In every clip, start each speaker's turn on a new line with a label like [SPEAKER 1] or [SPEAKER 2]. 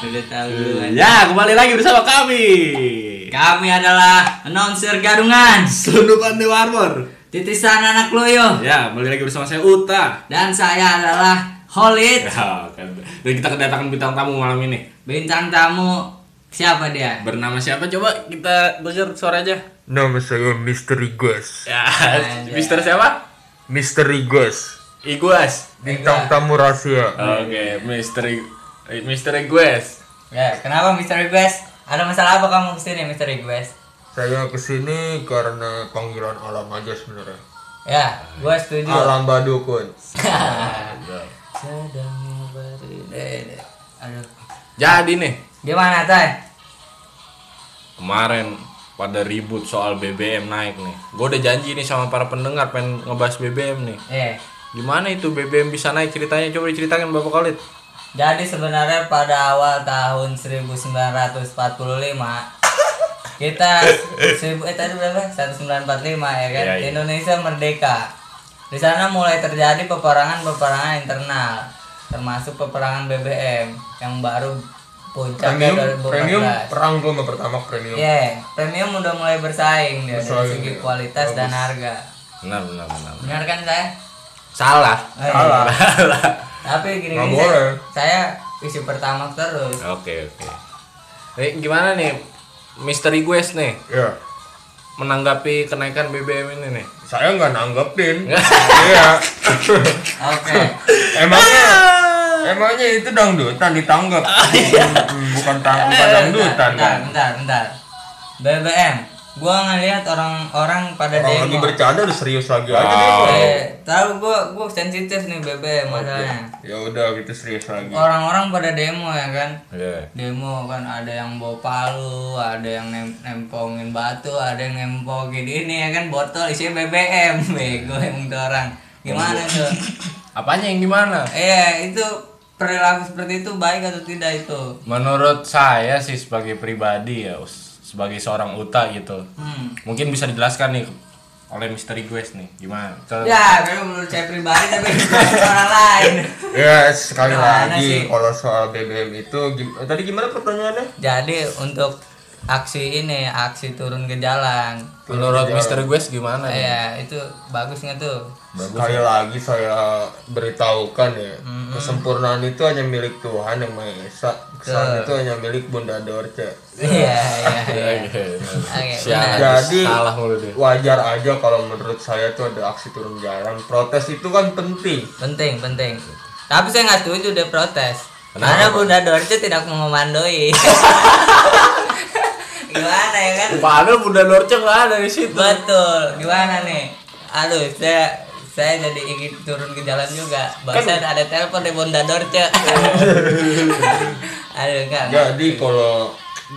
[SPEAKER 1] Udah tahu duluan.
[SPEAKER 2] Ya, kembali lagi bersama kami.
[SPEAKER 1] Kami adalah announcer gadungan,
[SPEAKER 2] Sundukan The Armor.
[SPEAKER 1] titisan anak loyo,
[SPEAKER 2] Ya, kembali lagi bersama saya Uta.
[SPEAKER 1] dan saya adalah Holid,
[SPEAKER 2] Ya, kan. Dan kita kedatangan bintang tamu malam ini.
[SPEAKER 1] bintang tamu siapa dia?
[SPEAKER 2] Bernama siapa? Coba kita buzzer suara aja.
[SPEAKER 3] Nama saya Misteri Gas.
[SPEAKER 2] Ya,
[SPEAKER 1] Anjay.
[SPEAKER 2] Mister siapa?
[SPEAKER 3] Misteri Gas.
[SPEAKER 2] Iguas.
[SPEAKER 3] Bintang
[SPEAKER 1] Iya.
[SPEAKER 3] tamu rahasia.
[SPEAKER 2] Oke, misteri Mister Iguas.
[SPEAKER 1] Ya, kenapa Mr. Request? Ada masalah apa kamu kesini Mr. Request?
[SPEAKER 3] Saya kesini karena panggilan alam aja sebenarnya.
[SPEAKER 1] Ya, gua setuju.
[SPEAKER 3] Alam badukun.
[SPEAKER 1] Sedang ngabarin. Eh, eh, Aduh.
[SPEAKER 2] Jadi nih,
[SPEAKER 1] Gimana, Tay?
[SPEAKER 2] kemarin pada ribut soal BBM naik nih. Gue udah janji nih sama para pendengar pengen ngebahas BBM nih.
[SPEAKER 1] Eh,
[SPEAKER 2] Gimana itu BBM bisa naik ceritanya? Coba diceritakan Bapak Khalid.
[SPEAKER 1] Jadi sebenarnya pada awal tahun 1945 kita seribu eh tadi berapa? 1945 ya kan.
[SPEAKER 2] Iya, iya.
[SPEAKER 1] Indonesia merdeka. Di sana mulai terjadi peperangan-peperangan internal, termasuk peperangan BBM yang baru puncaknya
[SPEAKER 3] Premium, premium
[SPEAKER 1] 2014.
[SPEAKER 3] perang gua sama pertama premium.
[SPEAKER 1] Yeah, Iya, premium udah mulai bersaing dia dari
[SPEAKER 3] Bersaing,
[SPEAKER 1] segi
[SPEAKER 3] iya.
[SPEAKER 1] kualitas dan harga.
[SPEAKER 2] Benar, benar, benar.
[SPEAKER 1] Benar kan saya?
[SPEAKER 2] Salah.
[SPEAKER 1] Eh,
[SPEAKER 3] Salah.
[SPEAKER 1] Tapi gini,
[SPEAKER 3] Nggak
[SPEAKER 1] -gini
[SPEAKER 3] boleh.
[SPEAKER 1] saya, saya isu pertama terus.
[SPEAKER 2] Oke, oke. Nih, gimana nih misteri gue nih
[SPEAKER 3] Ya,
[SPEAKER 2] menanggapi kenaikan BBM ini nih?
[SPEAKER 3] saya nggak nanggepin. Iya.
[SPEAKER 1] Oke.
[SPEAKER 3] Emangnya Emangnya itu dangdutan ditanggap. Hmm, Bukan tang bukan
[SPEAKER 1] Iya,
[SPEAKER 3] dangdutan
[SPEAKER 1] bentar,
[SPEAKER 3] kan.
[SPEAKER 1] bentar, bentar. BBM. Gua ngelihat orang-orang pada
[SPEAKER 3] Orang lagi
[SPEAKER 1] demo.
[SPEAKER 3] bercanda udah serius lagi aja
[SPEAKER 2] Wow.
[SPEAKER 3] deh.
[SPEAKER 1] Eh, tahu gua gua sensitif nih BBM masalahnya.
[SPEAKER 3] Ya udah gitu serius lagi.
[SPEAKER 1] Orang-orang pada demo ya kan.
[SPEAKER 2] Iya.
[SPEAKER 1] Demo kan ada yang bawa palu, ada yang nem- nempongin batu, ada yang nempongin ini ya kan botol isinya BBM. Bego emang tuh orang. Gimana tuh?
[SPEAKER 2] Apanya yang gimana?
[SPEAKER 1] Iya, itu perilaku seperti itu baik atau tidak itu?
[SPEAKER 2] Menurut saya sih sebagai pribadi ya, us- sebagai seorang uta gitu.
[SPEAKER 1] Hmm.
[SPEAKER 2] Mungkin bisa dijelaskan nih oleh misteri gue nih gimana? Ke-
[SPEAKER 1] Ya, kalau menurut saya pribadi tapi menurut orang lain.
[SPEAKER 3] Ya sekali
[SPEAKER 1] Gimana sih?
[SPEAKER 3] lagi kalau soal BBM itu gim- eh, tadi gimana pertanyaannya?
[SPEAKER 1] Jadi untuk aksi ini, aksi turun ke jalan,
[SPEAKER 2] Menurut misteri gue gimana? nih?
[SPEAKER 1] ya itu bagus nggak tuh?
[SPEAKER 3] Sekali lagi saya beritahukan ya kesempurnaan itu hanya milik Tuhan yang Maha Esa. Kesan itu hanya milik Bunda Dorce.
[SPEAKER 1] Iya, iya, iya.
[SPEAKER 2] Oke.
[SPEAKER 1] Oke,
[SPEAKER 2] Sial,
[SPEAKER 1] benar.
[SPEAKER 3] Jadi-
[SPEAKER 2] salah mulu dia.
[SPEAKER 3] Wajar aja kalau menurut saya tuh ada aksi turun jalan. Protes itu kan penting.
[SPEAKER 1] penting, penting. Tapi saya nggak setuju dia protes. Karena Bunda Dorce tidak memandoi. Gimana ya kan?
[SPEAKER 2] Padahal Bunda Dorce nggak ada di situ.
[SPEAKER 1] Betul. Gimana nih? Aduh, saya saya jadi ingin turun ke jalan juga. Bahkan ada telepon dari Bunda Dorce. Aduh, enggak. enggak.
[SPEAKER 3] Jadi kalau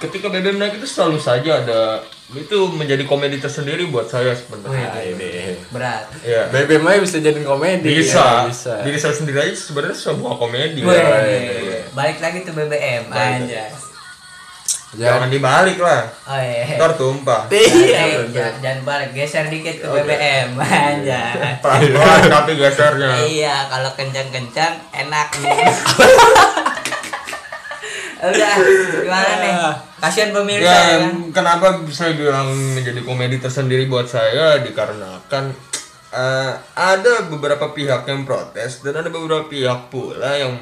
[SPEAKER 3] ketika BBM naik itu selalu saja ada itu menjadi komedi tersendiri buat saya sebenarnya.
[SPEAKER 1] iya.
[SPEAKER 2] Ini.
[SPEAKER 1] Berat.
[SPEAKER 3] Ya.
[SPEAKER 2] BBM aja bisa jadi komedi.
[SPEAKER 3] Bisa.
[SPEAKER 2] Ya, bisa.
[SPEAKER 3] Diri saya sendiri aja sebenarnya sebuah komedi. iya, kan.
[SPEAKER 1] Wih, Balik lagi ke BBM aja.
[SPEAKER 3] Jangan dibalik lah.
[SPEAKER 1] Oh iya.
[SPEAKER 3] Ntar tumpah.
[SPEAKER 2] Iya.
[SPEAKER 1] Jadi, ja- jangan balik, geser dikit ke BBM aja.
[SPEAKER 3] Pelan-pelan tapi gesernya.
[SPEAKER 1] Iya, kalau kencang-kencang enak nih. Udah, gimana nih? Kasihan pemirsa
[SPEAKER 3] Ya,
[SPEAKER 1] ya kan?
[SPEAKER 3] kenapa bisa bilang menjadi komedi tersendiri buat saya dikarenakan eh, ada beberapa pihak yang protes dan ada beberapa pihak pula yang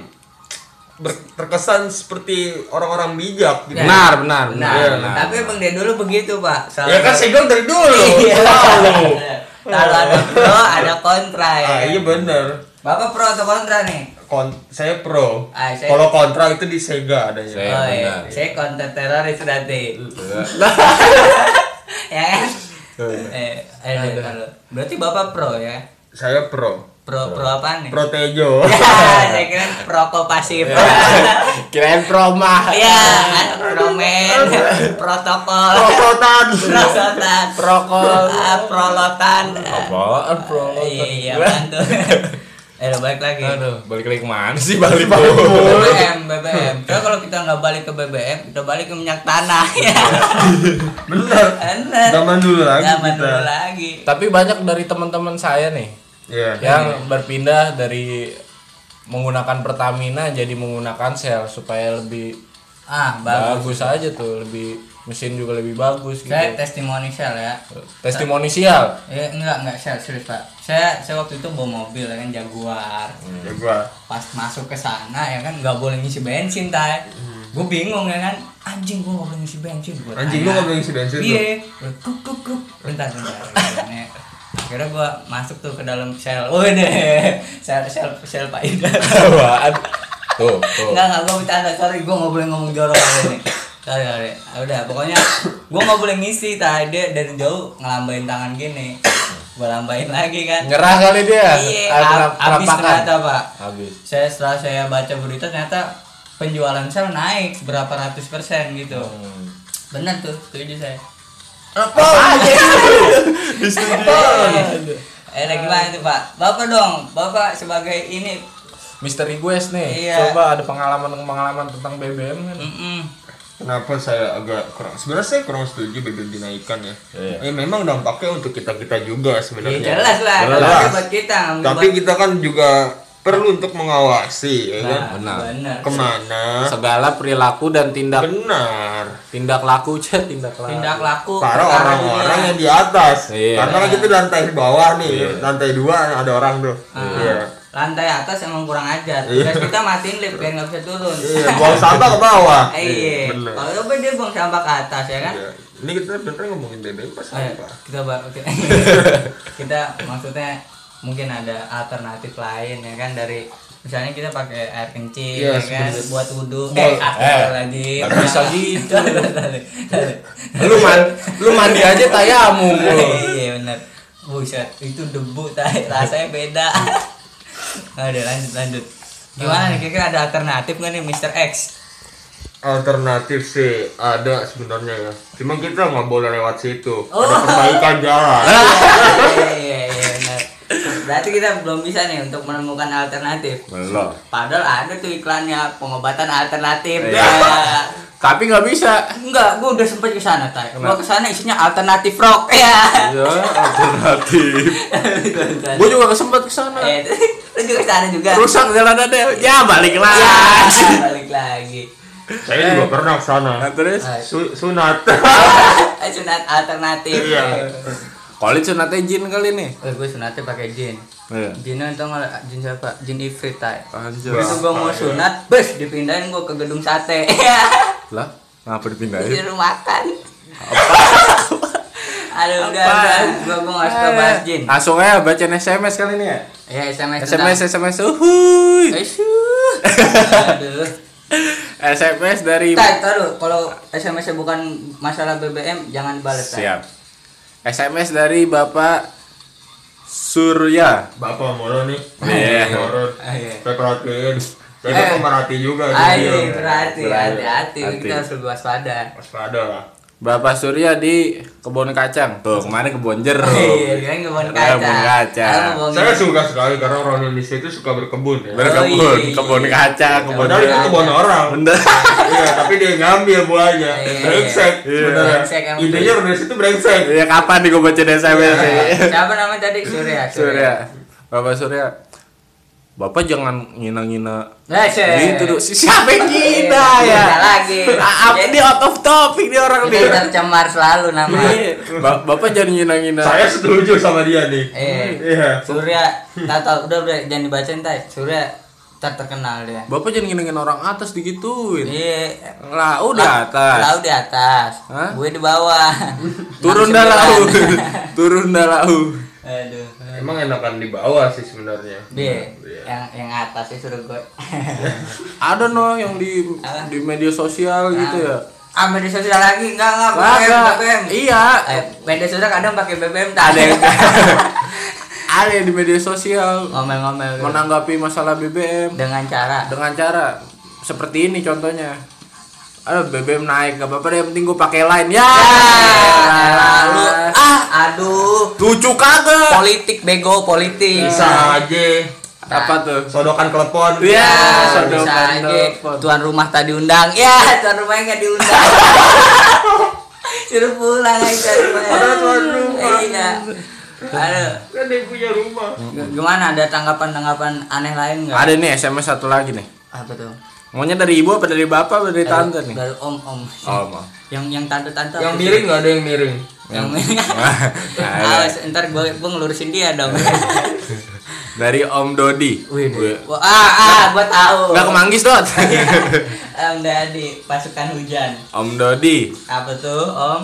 [SPEAKER 3] ber- terkesan seperti orang-orang bijak gitu.
[SPEAKER 2] Benar, benar,
[SPEAKER 1] Nah,
[SPEAKER 2] Iya, benar.
[SPEAKER 1] tapi emang dia dulu begitu, Pak. Selalu Iya.
[SPEAKER 3] Ya kan saya bilang dari dulu.
[SPEAKER 2] Iya.
[SPEAKER 3] Selalu.
[SPEAKER 1] Kalau ada pro, ada kontra ya.
[SPEAKER 3] Ah, iya bener.
[SPEAKER 1] Bapak pro atau kontra nih?
[SPEAKER 3] Kon- saya pro.
[SPEAKER 1] Ah, saya-
[SPEAKER 3] Kalau kontra itu di Sega adanya.
[SPEAKER 2] Saya
[SPEAKER 1] oh, iya.
[SPEAKER 2] benar.
[SPEAKER 1] Saya kontra teroris nanti. ya kan? eh, eh, aduh. Berarti Bapak pro ya?
[SPEAKER 3] Saya pro.
[SPEAKER 1] Pro pro apa nih?
[SPEAKER 3] Pro Tejo.
[SPEAKER 1] Ya, saya kira proko pasif.
[SPEAKER 2] Iya. Kirain proma.
[SPEAKER 1] Ya, ada promen, protokol,
[SPEAKER 3] Prosotan.
[SPEAKER 1] prosotan, prokol, prolotan.
[SPEAKER 2] Apaan proma?
[SPEAKER 1] Iya, iya, bantu. Eh, udah balik lagi.
[SPEAKER 2] Aduh, balik lagi kemana sih balik
[SPEAKER 1] BBM, BBM. Coba kalau kita nggak balik ke BBM, kita balik ke minyak tanah ya.
[SPEAKER 3] Bener.
[SPEAKER 1] Bener.
[SPEAKER 3] Zaman dulu lagi
[SPEAKER 1] Zaman
[SPEAKER 3] kita.
[SPEAKER 1] dulu lagi. Ya.
[SPEAKER 2] Tapi banyak dari teman-teman saya nih
[SPEAKER 3] Iya.
[SPEAKER 2] yang berpindah dari menggunakan Pertamina jadi menggunakan sel supaya lebih
[SPEAKER 1] ah bagus
[SPEAKER 2] bagus, aja tuh lebih mesin juga lebih bagus gitu
[SPEAKER 1] saya testimoni Shell ya
[SPEAKER 2] testimoni sial
[SPEAKER 1] Eh, enggak enggak Shell serius pak saya saya waktu itu bawa mobil ya kan Jaguar
[SPEAKER 3] ya gua
[SPEAKER 1] pas masuk ke sana ya kan nggak boleh ngisi bensin tay gue bingung ya kan anjing gue nggak boleh ngisi bensin gue
[SPEAKER 3] Anjing, lu nggak boleh ngisi bensin,
[SPEAKER 1] iya kuk kuk kuk bentar bentar Nih, akhirnya gue masuk tuh ke dalam sel oh deh sel sel sel pak Ida
[SPEAKER 2] Apaan? tuh
[SPEAKER 3] Oh.
[SPEAKER 2] tuh
[SPEAKER 1] Enggak, enggak, gue bercanda, sorry, gue gak boleh ngomong jorok kali ini Sorry, sorry, Ah, udah, pokoknya gue gak boleh ngisi, tadi dia dari jauh ngelambain tangan gini Gue lambain lagi kan
[SPEAKER 2] nyerah kali dia
[SPEAKER 1] Iya,
[SPEAKER 2] Ah,
[SPEAKER 1] ab-
[SPEAKER 2] kerap-
[SPEAKER 1] abis
[SPEAKER 2] kerapakan.
[SPEAKER 1] ternyata pak
[SPEAKER 2] Habis.
[SPEAKER 1] Saya setelah saya baca berita ternyata penjualan sel naik berapa ratus persen gitu
[SPEAKER 2] Hmm.
[SPEAKER 1] Bener tuh, setuju saya
[SPEAKER 3] apa
[SPEAKER 1] Eh, lagi gimana tuh pak? Bapak dong, bapak sebagai ini
[SPEAKER 2] Misteri Guest nih,
[SPEAKER 1] Iya.
[SPEAKER 2] coba ada pengalaman-pengalaman tentang BBM kan?
[SPEAKER 1] Mm-mm.
[SPEAKER 3] kenapa saya agak kurang sebenarnya saya kurang setuju BBM dinaikkan ya
[SPEAKER 2] Iya.
[SPEAKER 3] Eh, memang dampaknya untuk kita kita juga
[SPEAKER 1] Ya
[SPEAKER 3] sebenarnya
[SPEAKER 1] jelas lah,
[SPEAKER 3] Iya. Jelas.
[SPEAKER 1] kalau buat kita
[SPEAKER 3] tapi kita kan juga perlu untuk mengawasi ya kan
[SPEAKER 2] Benar.
[SPEAKER 1] benar. Ah, benar.
[SPEAKER 3] kemana
[SPEAKER 2] Segala perilaku dan tindak
[SPEAKER 3] benar
[SPEAKER 2] tindak laku cah tindak laku.
[SPEAKER 1] tindak laku
[SPEAKER 3] para
[SPEAKER 1] perkara
[SPEAKER 3] orang-orang
[SPEAKER 1] dunia.
[SPEAKER 3] yang di atas
[SPEAKER 2] Iya.
[SPEAKER 3] karena kan kita di lantai bawah nih lantai dua ada orang tuh iya
[SPEAKER 1] Ah, lantai atas emang kurang ajar terus kita matiin lift biar nggak bisa turun
[SPEAKER 3] iya buang sampah ke bawah
[SPEAKER 1] Eh, iya
[SPEAKER 3] bener.
[SPEAKER 1] kalau lu dia buang sampah ke atas ya kan
[SPEAKER 3] Iya. ini kita bener ngomongin BBM pas
[SPEAKER 2] Oh iya,
[SPEAKER 1] Ayo,
[SPEAKER 3] apa
[SPEAKER 1] kita ba- oke. kita maksudnya mungkin ada alternatif lain ya kan dari misalnya kita pakai air kencing
[SPEAKER 2] Iya,
[SPEAKER 1] ya
[SPEAKER 3] Yes,
[SPEAKER 1] kan
[SPEAKER 3] bener.
[SPEAKER 1] buat wudhu eh, lagi
[SPEAKER 2] Nggak bisa gitu. lu man, lu mandi aja tayamum lu.
[SPEAKER 1] iya benar buset itu debu tai rasanya beda udah lanjut lanjut gimana nih kira-kira ada alternatif nggak nih Mr. X
[SPEAKER 3] alternatif sih ada sebenarnya ya cuma kita nggak boleh lewat situ ada perbaikan jalan
[SPEAKER 1] Iya, iya iya benar berarti kita belum bisa nih untuk menemukan alternatif
[SPEAKER 2] Belum.
[SPEAKER 1] padahal ada tuh iklannya pengobatan alternatif
[SPEAKER 2] Iya.
[SPEAKER 1] Ya.
[SPEAKER 2] Tapi nggak bisa.
[SPEAKER 1] Enggak, gua udah sempet kesana tay. Gua kesana isinya alternatif rock ya.
[SPEAKER 2] Ya, alternatif. Gue juga kesempet kesana.
[SPEAKER 1] Eh, lu juga kesana juga.
[SPEAKER 2] Rusak jalan ada. Ya balik
[SPEAKER 1] Ya,
[SPEAKER 2] lagi.
[SPEAKER 1] balik lagi.
[SPEAKER 3] saya juga pernah ke sana
[SPEAKER 2] Nah, terus
[SPEAKER 3] Su- sunat
[SPEAKER 1] Ah, sunat alternatif.
[SPEAKER 3] Iya.
[SPEAKER 2] Kolit sunatnya jin kali nih.
[SPEAKER 1] Eh, gue sunatnya pakai jin.
[SPEAKER 2] Iya.
[SPEAKER 1] Jinnya itu nggak jin siapa? Jin Ifrit tay.
[SPEAKER 2] Anjir.
[SPEAKER 1] Begitu gue mau sunat, bes dipindahin gue ke gedung sate.
[SPEAKER 2] Lah, ngapa dipindahin?
[SPEAKER 1] Disuruh makan. Aduh, udah, udah. Gue gue nggak suka bahas jin.
[SPEAKER 2] Langsung aja bacain SMS kali ini ya.
[SPEAKER 1] Ya SMS. tentang-
[SPEAKER 2] SMS SMS uhuy.
[SPEAKER 1] Eh, syuh. Aduh.
[SPEAKER 2] SMS dari
[SPEAKER 1] Tay, taruh. Kalau SMS-nya bukan masalah BBM, jangan balas. Tay.
[SPEAKER 2] Siap. SMS dari Bapak Surya.
[SPEAKER 3] bapak mulu nih
[SPEAKER 2] Iya.
[SPEAKER 3] Murut.
[SPEAKER 1] Ah, iya.
[SPEAKER 3] saya perhatiin saya
[SPEAKER 1] Eh.
[SPEAKER 3] tuh pemerhati juga
[SPEAKER 1] Ayo,
[SPEAKER 2] Iya.
[SPEAKER 3] jadi
[SPEAKER 1] berhati, hati-hati.
[SPEAKER 2] Hati.
[SPEAKER 1] Kita harus lebih waspada.
[SPEAKER 3] waspada lah
[SPEAKER 2] Bapak Surya di kebun kacang. Tuh, kemarin kebun
[SPEAKER 1] Iya,
[SPEAKER 2] jeruk.
[SPEAKER 1] kan kebun
[SPEAKER 2] Iya,
[SPEAKER 1] kaca.
[SPEAKER 2] Oh. kebun kaca.
[SPEAKER 1] Kalau kebun-
[SPEAKER 3] saya suka sekali karena orang Indonesia itu suka berkebun ya
[SPEAKER 2] Berkebun,
[SPEAKER 1] Oh, iya.
[SPEAKER 2] kebun kacang, kebun
[SPEAKER 3] padahal itu
[SPEAKER 2] jeruk.
[SPEAKER 3] kebun orang
[SPEAKER 2] Bener.
[SPEAKER 3] iya tapi dia ngambil buahnya
[SPEAKER 1] Iya.
[SPEAKER 3] brengsek
[SPEAKER 2] Iya.
[SPEAKER 3] sebenarnya
[SPEAKER 1] Brengsek emang.
[SPEAKER 3] idenya orang Indonesia itu brengsek
[SPEAKER 2] Ya kapan nih gue bacain
[SPEAKER 1] Iya,
[SPEAKER 2] SMS sih?
[SPEAKER 1] Siapa namanya tadi? Surya.
[SPEAKER 2] Surya. Bapak Surya. Bapak jangan ngina-ngina
[SPEAKER 1] Nah, Surya.
[SPEAKER 2] gitu dong. Si- Siapa yang ngina
[SPEAKER 1] Iya,
[SPEAKER 2] ya?
[SPEAKER 1] ngina lagi.
[SPEAKER 2] Ah, ah,
[SPEAKER 1] Jadi- Iya,
[SPEAKER 2] Ini out of topic nih orang nih.
[SPEAKER 1] Kita tercemar selalu nama.
[SPEAKER 2] Iya. Ba- Bapak jangan ngina-ngina.
[SPEAKER 3] saya setuju sama dia nih
[SPEAKER 1] Eh,
[SPEAKER 3] iya
[SPEAKER 1] Surya, tato udah udah jangan dibacain tay. Surya ntar terkenal dia.
[SPEAKER 2] Bapak jangan ngina-ngina orang atas digituin.
[SPEAKER 1] Iya.
[SPEAKER 2] Lah udah
[SPEAKER 1] Lau
[SPEAKER 2] atas.
[SPEAKER 1] di atas.
[SPEAKER 2] Hah?
[SPEAKER 1] Gue di bawah.
[SPEAKER 2] Turun dah lau. Turun dah lau.
[SPEAKER 1] Aduh.
[SPEAKER 3] emang enakan di bawah sih sebenarnya
[SPEAKER 2] Iya.
[SPEAKER 1] B, yang yang atas sih suruh gue.
[SPEAKER 2] Ada no yang di di media sosial gitu ya.
[SPEAKER 1] Ah, media sosial lagi enggak enggak BBM, BBM.
[SPEAKER 2] Kagak. Iya.
[SPEAKER 1] Eh, media sosial kadang pakai BBM tak
[SPEAKER 2] Ada yang ada yang di media sosial
[SPEAKER 1] ngomel-ngomel gitu.
[SPEAKER 2] menanggapi masalah BBM
[SPEAKER 1] dengan cara
[SPEAKER 2] dengan cara seperti ini contohnya. Aduh BBM naik gak apa-apa deh yang penting gue pakai line ya.
[SPEAKER 1] lalu ah Nah. aduh
[SPEAKER 2] Lucu kagak.
[SPEAKER 1] politik bego politik
[SPEAKER 3] bisa aja
[SPEAKER 2] Apa tuh?
[SPEAKER 3] sodokan telepon
[SPEAKER 2] Iya,
[SPEAKER 1] Ah, bisa
[SPEAKER 2] sodokan
[SPEAKER 1] aja
[SPEAKER 2] telepon.
[SPEAKER 1] tuan rumah tadi undang ya tuan rumahnya nggak diundang suruh pulang aja tuan rumahnya.
[SPEAKER 3] Ada tuan rumah.
[SPEAKER 1] iya Aduh,
[SPEAKER 3] Kan dia punya rumah.
[SPEAKER 1] g- gimana ada tanggapan-tanggapan aneh lain nggak?
[SPEAKER 2] Ada nih SMS satu lagi nih.
[SPEAKER 1] Apa tuh?
[SPEAKER 2] Maunya dari ibu apa dari bapak apa dari tante
[SPEAKER 1] Eh, Dari-
[SPEAKER 2] nih?
[SPEAKER 1] Dari om om.
[SPEAKER 2] Oh, mau.
[SPEAKER 1] Yang yang tante-tante.
[SPEAKER 3] Yang
[SPEAKER 1] apa sih?
[SPEAKER 3] miring nggak ada yang miring.
[SPEAKER 1] Yang
[SPEAKER 2] Ada.
[SPEAKER 1] Awas, ntar gue gue ngelurusin dia dong. Iya.
[SPEAKER 2] dari Om Dodi. Gue-
[SPEAKER 1] Wah, ah, ah, gue tahu.
[SPEAKER 2] Nggak kemanggis dot.
[SPEAKER 1] Om Dadi, pasukan hujan.
[SPEAKER 2] Om Dodi
[SPEAKER 1] Apa tuh, Om?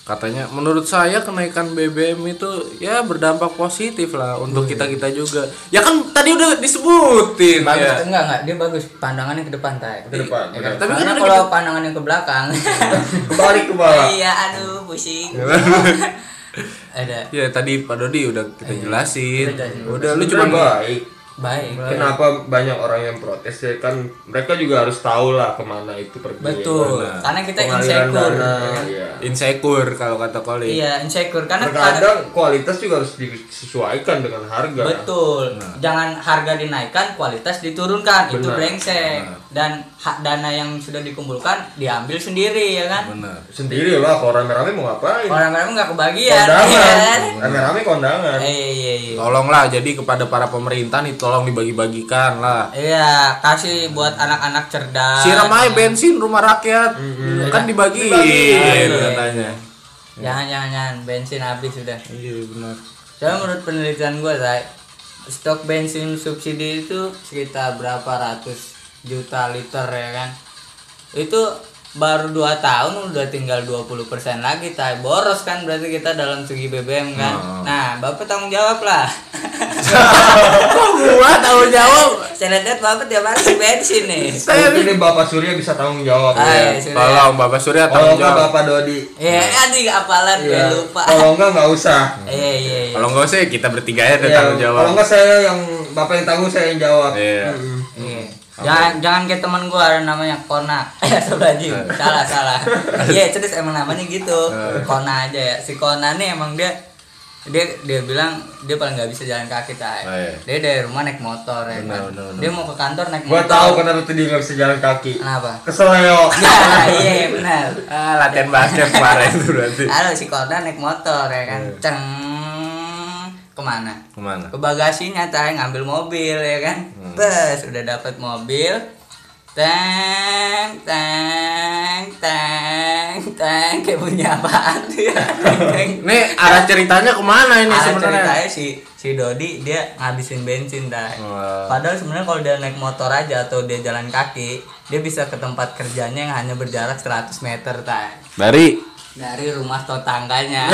[SPEAKER 2] katanya menurut saya kenaikan BBM itu ya berdampak positif lah untuk kita kita juga. Ya kan tadi udah disebutin.
[SPEAKER 1] Bagus
[SPEAKER 2] ya.
[SPEAKER 1] enggak enggak? Dia bagus pandangannya ke depan, Tai.
[SPEAKER 3] Iya.
[SPEAKER 1] Iya.
[SPEAKER 3] Ke depan. bener.
[SPEAKER 2] Tapi kan
[SPEAKER 1] Karena
[SPEAKER 2] ada
[SPEAKER 1] kalau pandangannya ke belakang.
[SPEAKER 3] Kebalik kepala.
[SPEAKER 1] iya, aduh, pusing.
[SPEAKER 3] Iya,
[SPEAKER 1] Ada
[SPEAKER 2] Ya tadi Pak Dodi udah kita
[SPEAKER 1] Iya.
[SPEAKER 2] jelasin.
[SPEAKER 1] Udah, udah.
[SPEAKER 2] Udah Iya, lu
[SPEAKER 3] Cuma
[SPEAKER 2] cuma
[SPEAKER 3] baik.
[SPEAKER 1] baik.
[SPEAKER 3] Kenapa banyak orang yang protes ya kan mereka juga harus tahu lah kemana itu pergi.
[SPEAKER 1] Betul.
[SPEAKER 2] Benar.
[SPEAKER 1] Karena kita
[SPEAKER 3] Pengaliran
[SPEAKER 1] insecure.
[SPEAKER 3] dana. Iya.
[SPEAKER 2] insecure kalau kata Koli.
[SPEAKER 1] Iya, insecure karena kadang-
[SPEAKER 3] Terkadang kualitas juga harus disesuaikan dengan harga.
[SPEAKER 1] betul. Jangan harga dinaikkan, kualitas diturunkan. Itu
[SPEAKER 3] Benar.
[SPEAKER 1] brengsek. Dan hak dana yang sudah dikumpulkan diambil sendiri ya kan?
[SPEAKER 2] Bener.
[SPEAKER 3] Sendiri lah kalau rame-rame mau ngapain?
[SPEAKER 1] Orang-orang nggak kebagian. ya
[SPEAKER 3] Kondangan.
[SPEAKER 1] kan?
[SPEAKER 3] Rame-rame kondangan.
[SPEAKER 1] Iya, iya, iya.
[SPEAKER 2] Tolonglah jadi kepada para pemerintah nih tolong dibagi-bagikan lah.
[SPEAKER 1] Iya, kasih buat anak-anak cerdas.
[SPEAKER 2] Siram aja bensin rumah rakyat. Kan dibagiin
[SPEAKER 1] Dibagiin.
[SPEAKER 2] iya, katanya.
[SPEAKER 1] Jangan,
[SPEAKER 3] Ya.
[SPEAKER 1] jangan, jangan. Ya, Bensin habis sudah.
[SPEAKER 2] Iya benar.
[SPEAKER 1] Soalnya menurut penelitian gue, Zai, stok bensin subsidi itu sekitar berapa ratus juta liter ya kan? Itu baru 2 tahun udah tinggal 20% lagi, Tai. Boros kan berarti kita dalam segi BBM kan?
[SPEAKER 3] Oh.
[SPEAKER 1] Nah, Bapak tanggung jawab lah.
[SPEAKER 2] Kok Oh, gua tahu jawab?
[SPEAKER 1] Saya lihat Bapak tiap hari isi bensin nih.
[SPEAKER 2] Saya
[SPEAKER 3] Mungkin nih Bapak Surya bisa tanggung jawab.
[SPEAKER 1] Ah, iya,
[SPEAKER 3] ya.
[SPEAKER 1] sudah.
[SPEAKER 2] tolong Bapak Surya
[SPEAKER 3] Kalau
[SPEAKER 2] tanggung
[SPEAKER 3] Oh, enggak
[SPEAKER 2] jawab.
[SPEAKER 3] Bapak Dodi.
[SPEAKER 1] Ya, aduh, apalan gue
[SPEAKER 3] Iya.
[SPEAKER 1] lupa.
[SPEAKER 3] Kalau enggak nggak usah.
[SPEAKER 1] Iya, iya, iya.
[SPEAKER 2] Kalau enggak sih kita bertiga aja
[SPEAKER 3] Iya,
[SPEAKER 2] tanggung jawab.
[SPEAKER 3] Kalau enggak saya yang Bapak yang tanggung saya yang jawab.
[SPEAKER 2] Iya.
[SPEAKER 3] Mm-mm.
[SPEAKER 1] Iya. Jangan jangan kayak teman gua ada namanya Kona. Astagfirullahaladzim. salah salah. Iya, terus emang namanya gitu. Kona aja ya. Si Kona nih emang dia dia dia bilang dia paling nggak bisa jalan kaki tay.
[SPEAKER 2] Oh, iya.
[SPEAKER 1] Dia dari rumah naik motor ya. kan.
[SPEAKER 2] Benar, benar, benar.
[SPEAKER 1] Dia mau ke kantor naik
[SPEAKER 3] Gua
[SPEAKER 1] motor.
[SPEAKER 3] tahu kenapa tadi nggak bisa jalan kaki.
[SPEAKER 1] Kenapa?
[SPEAKER 3] Keseleo.
[SPEAKER 1] Ya, iya benar.
[SPEAKER 2] Ah, latihan basket kemarin itu berarti.
[SPEAKER 1] Halo si Kona naik motor ya kan. Ceng kemana?
[SPEAKER 2] Kemana?
[SPEAKER 1] ke bagasinya tay ngambil mobil ya kan
[SPEAKER 2] Hmm.
[SPEAKER 1] terus udah dapat mobil teng teng teng teng kayak punya apaan tuh ya Teng, teng.
[SPEAKER 2] Nih arah ceritanya kemana ini
[SPEAKER 1] Ala
[SPEAKER 2] sebenarnya?
[SPEAKER 1] ceritanya si si Dodi dia ngabisin bensin tay
[SPEAKER 2] Wah.
[SPEAKER 1] padahal sebenarnya kalau dia naik motor aja atau dia jalan kaki dia bisa ke tempat kerjanya yang hanya berjarak 100 meter tay
[SPEAKER 2] Dari
[SPEAKER 1] dari rumah tetangganya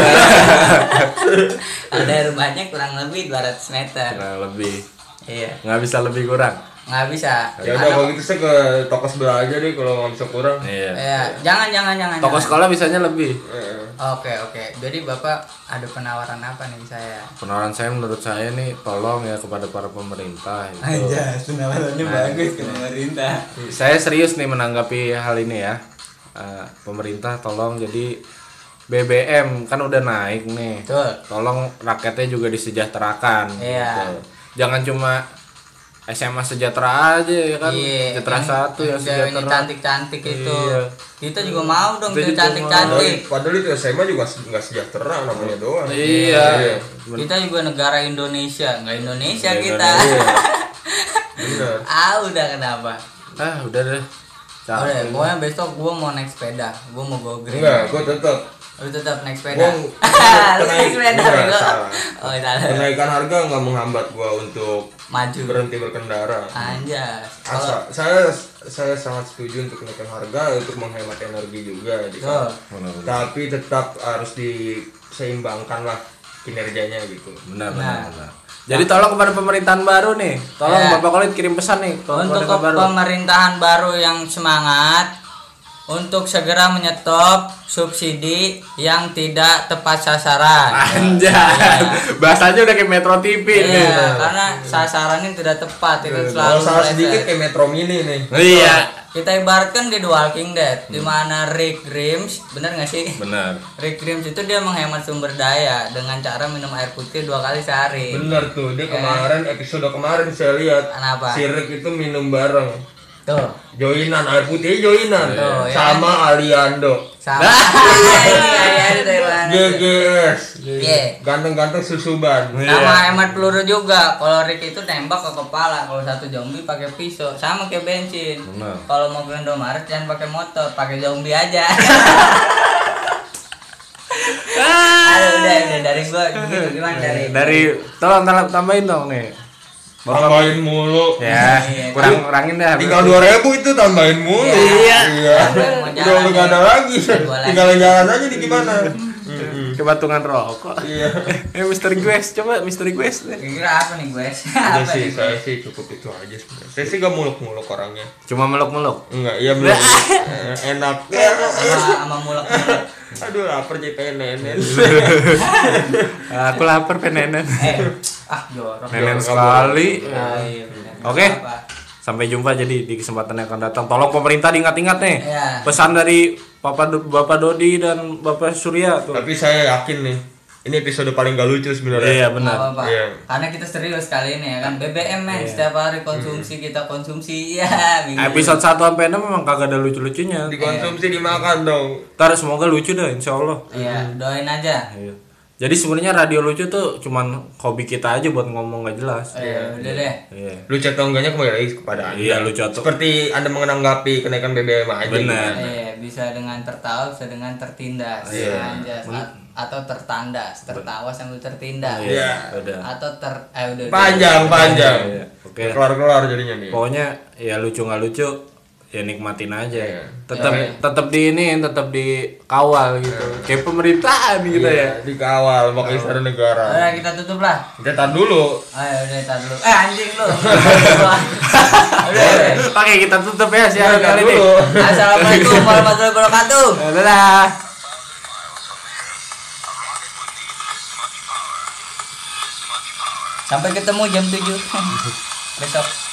[SPEAKER 1] ada rumahnya kurang lebih 200 meter
[SPEAKER 2] kurang Nah, lebih
[SPEAKER 1] iya
[SPEAKER 2] nggak bisa lebih kurang.
[SPEAKER 1] nggak bisa
[SPEAKER 3] Ya udah kalau gitu saya ke toko sebelah aja deh kalau nggak bisa kurang.
[SPEAKER 2] Iya.
[SPEAKER 1] ya jangan jangan jangan
[SPEAKER 2] Toko
[SPEAKER 1] jangan.
[SPEAKER 2] sekolah bisanya lebih.
[SPEAKER 3] Iya.
[SPEAKER 1] oke oke jadi bapak ada penawaran apa nih ke saya
[SPEAKER 2] Penawaran saya menurut saya nih tolong ya kepada para pemerintah gitu. itu.
[SPEAKER 1] penawarannya Iya, bagus ke pemerintah
[SPEAKER 2] Saya serius nih menanggapi hal ini ya. Eh, pemerintah tolong jadi BBM kan udah naik nih.
[SPEAKER 1] betul
[SPEAKER 2] Tolong rakyatnya juga disejahterakan.
[SPEAKER 1] Iya.
[SPEAKER 2] gitu. Jangan cuma SMA sejahtera aja ya kan.
[SPEAKER 1] Iya,
[SPEAKER 2] sejahtera
[SPEAKER 1] yang-
[SPEAKER 2] satu yang
[SPEAKER 1] ceweknya
[SPEAKER 2] sejahtera.
[SPEAKER 1] cantik cantik itu
[SPEAKER 2] Iya.
[SPEAKER 1] kita juga mau dong kita
[SPEAKER 2] Kita juga
[SPEAKER 1] cantik
[SPEAKER 3] Padahal,
[SPEAKER 1] cantik
[SPEAKER 3] padahal itu SMA juga se- nggak sejahtera
[SPEAKER 1] Oh,
[SPEAKER 3] namanya doang.
[SPEAKER 2] Iya.
[SPEAKER 1] kita juga negara Indonesia nggak Indonesia kita
[SPEAKER 3] Bener.
[SPEAKER 1] ah udah kenapa
[SPEAKER 2] Ah, udah deh. Cakep.
[SPEAKER 1] udah pokoknya besok gua mau naik sepeda gua mau go green
[SPEAKER 3] Enggak, gua tetap
[SPEAKER 1] lu tetap naik sepeda
[SPEAKER 3] Gua-
[SPEAKER 1] lu naik
[SPEAKER 3] kenaik-
[SPEAKER 1] sepeda
[SPEAKER 3] enggak,
[SPEAKER 1] bego.
[SPEAKER 3] salah.
[SPEAKER 1] oh salah
[SPEAKER 3] kenaikan harga nggak menghambat gua untuk
[SPEAKER 1] maju
[SPEAKER 3] berhenti berkendara.
[SPEAKER 1] anjas Ah, kalau
[SPEAKER 3] Asa- saya saya sangat setuju untuk kenaikan harga untuk menghemat energi juga gitu.
[SPEAKER 1] Betul.
[SPEAKER 3] Tapi tetap harus diseimbangkan lah kinerjanya gitu.
[SPEAKER 2] Benar, benar,
[SPEAKER 1] Nah.
[SPEAKER 2] benar. Jadi tolong kepada pemerintahan baru nih. Tolong
[SPEAKER 1] Ya.
[SPEAKER 2] Bapak Kolit kirim pesan nih ke
[SPEAKER 1] untuk
[SPEAKER 2] pemerintah
[SPEAKER 1] ke-
[SPEAKER 2] baru.
[SPEAKER 1] pemerintahan baru yang semangat untuk segera menyetop subsidi yang tidak tepat sasaran.
[SPEAKER 2] Anjay. Bahasanya udah kayak Metro TV nih.
[SPEAKER 1] Iya, karena sasarannya tidak tepat itu selalu
[SPEAKER 3] Kalau salah
[SPEAKER 1] meleset.
[SPEAKER 3] sedikit kayak Metro Mini nih.
[SPEAKER 2] Iya.
[SPEAKER 1] Kita ibaratkan di The Walking Dead, di mana Rick Grimes, bener nggak sih?
[SPEAKER 2] Benar.
[SPEAKER 1] Rick Grimes itu dia menghemat sumber daya dengan cara minum air putih dua kali sehari. Iya.
[SPEAKER 3] Bener tuh, dia kemarin episode kemarin saya lihat
[SPEAKER 1] Kenapa?
[SPEAKER 3] Sirik itu minum bareng.
[SPEAKER 1] Tuh.
[SPEAKER 3] Joinan air putih joinan
[SPEAKER 1] Tuh, ya.
[SPEAKER 3] sama Aliando.
[SPEAKER 1] Sama. Ini kayaknya dari mana?
[SPEAKER 3] GGS.
[SPEAKER 1] Iya.
[SPEAKER 3] Ganteng-ganteng susuban.
[SPEAKER 1] Sama
[SPEAKER 3] Iya.
[SPEAKER 1] hemat peluru juga. Kalau Rick itu tembak ke kepala, kalau satu zombie pakai pisau, sama kayak bensin.
[SPEAKER 2] Benar.
[SPEAKER 1] Kalau mau ke Indomaret jangan pakai motor, pakai zombie aja.
[SPEAKER 2] Ah.
[SPEAKER 1] Aduh, udah, udah dari gua gitu gimana dari
[SPEAKER 2] dari tolong tolong tambahin dong nih bapak
[SPEAKER 3] Tambahin mulu.
[SPEAKER 2] ya
[SPEAKER 1] Iya.
[SPEAKER 2] kurang kurangin dah
[SPEAKER 3] Tinggal dua ribu itu tambahin mulu.
[SPEAKER 1] Iya.
[SPEAKER 3] Iya.
[SPEAKER 1] Mau jalan
[SPEAKER 3] Udah udah gak ada
[SPEAKER 1] ya.
[SPEAKER 3] lagi.
[SPEAKER 1] Jualan.
[SPEAKER 3] Tinggal jalan aja di gimana.
[SPEAKER 1] Iya.
[SPEAKER 3] Mm-mm.
[SPEAKER 2] kebatungan rokok
[SPEAKER 3] Iya.
[SPEAKER 2] eh Mr. Guest coba Mr. Guest
[SPEAKER 1] Kira-kira apa nih gue?
[SPEAKER 3] Udah
[SPEAKER 1] apa nih
[SPEAKER 3] sih,
[SPEAKER 1] gue?
[SPEAKER 3] saya sih cukup itu aja sebenarnya. Saya sih gak muluk-muluk orangnya.
[SPEAKER 2] cuma meluk meluk
[SPEAKER 3] Enggak, iya belum. Eh, Enak.
[SPEAKER 1] Sama sama mulak.
[SPEAKER 3] Aduh, lapar jadi pengen nenek.
[SPEAKER 1] Iya.
[SPEAKER 2] aku lapar penenen
[SPEAKER 1] Eh, ah jorok.
[SPEAKER 2] nenen
[SPEAKER 3] Jorok
[SPEAKER 2] sekali
[SPEAKER 1] Ah, iya, bener.
[SPEAKER 2] Oke.
[SPEAKER 1] Apa?
[SPEAKER 2] sampai jumpa jadi di kesempatan yang akan datang tolong pemerintah diingat-ingat nih
[SPEAKER 1] Iya.
[SPEAKER 2] pesan dari Papa Do- Bapak Dodi dan Bapak Surya tuh
[SPEAKER 3] Tapi saya yakin nih, ini episode paling gak lucu sebenarnya.
[SPEAKER 2] iya
[SPEAKER 1] Nggak
[SPEAKER 2] benar
[SPEAKER 1] apa-apa.
[SPEAKER 3] Iya.
[SPEAKER 1] Karena kita serius kali ini ya kan BBM men setiap hari konsumsi kita konsumsi ya minggu
[SPEAKER 2] episode 1 sampai 6 memang kagak ada lucu-lucunya
[SPEAKER 3] Dikonsumsi dimakan dong.
[SPEAKER 2] ntar semoga lucu dah insya Allah
[SPEAKER 1] Iya, doain aja.
[SPEAKER 2] Iya. Jadi sebenarnya radio lucu tuh cuman hobi kita aja buat ngomong gak jelas.
[SPEAKER 1] Iya, udah deh.
[SPEAKER 2] Iya.
[SPEAKER 3] Lucu atau enggaknya kembali lagi kepada Anda.
[SPEAKER 2] Iya, lucu atau-
[SPEAKER 3] Seperti gitu. Anda menanggapi kenaikan BBM aja.
[SPEAKER 2] Benar.
[SPEAKER 1] Iya, bisa dengan tertawa, bisa dengan tertindas. Anjas. A- atau tertandas, tertawa sambil tertindas.
[SPEAKER 3] Iya.
[SPEAKER 2] Udah.
[SPEAKER 1] Atau ter eh udah.
[SPEAKER 3] Panjang, panjang.
[SPEAKER 2] Iya, Oke.
[SPEAKER 3] Keluar-keluar jadinya nih.
[SPEAKER 2] Pokoknya ya lucu nggak lucu ya nikmatin aja.
[SPEAKER 3] Iya.
[SPEAKER 2] Tetap tetap di ini, tetap dikawal gitu. Kayak pemerintahan gitu ya.
[SPEAKER 3] Iya, dikawal pakai istana negara.
[SPEAKER 2] Eh.
[SPEAKER 1] Udah kita tutup lah.
[SPEAKER 3] Kita tar dulu.
[SPEAKER 1] Ayo udah tar dulu. Eh anjing lu. Udah, udah.
[SPEAKER 2] ya. Oke, kita tutup ya siaran
[SPEAKER 3] Tar
[SPEAKER 2] kali ini.
[SPEAKER 3] Iya. dulu.
[SPEAKER 1] Assalamualaikum warahmatullahi wabarakatuh.
[SPEAKER 2] Dadah.
[SPEAKER 1] Sampai ketemu jam 7 besok.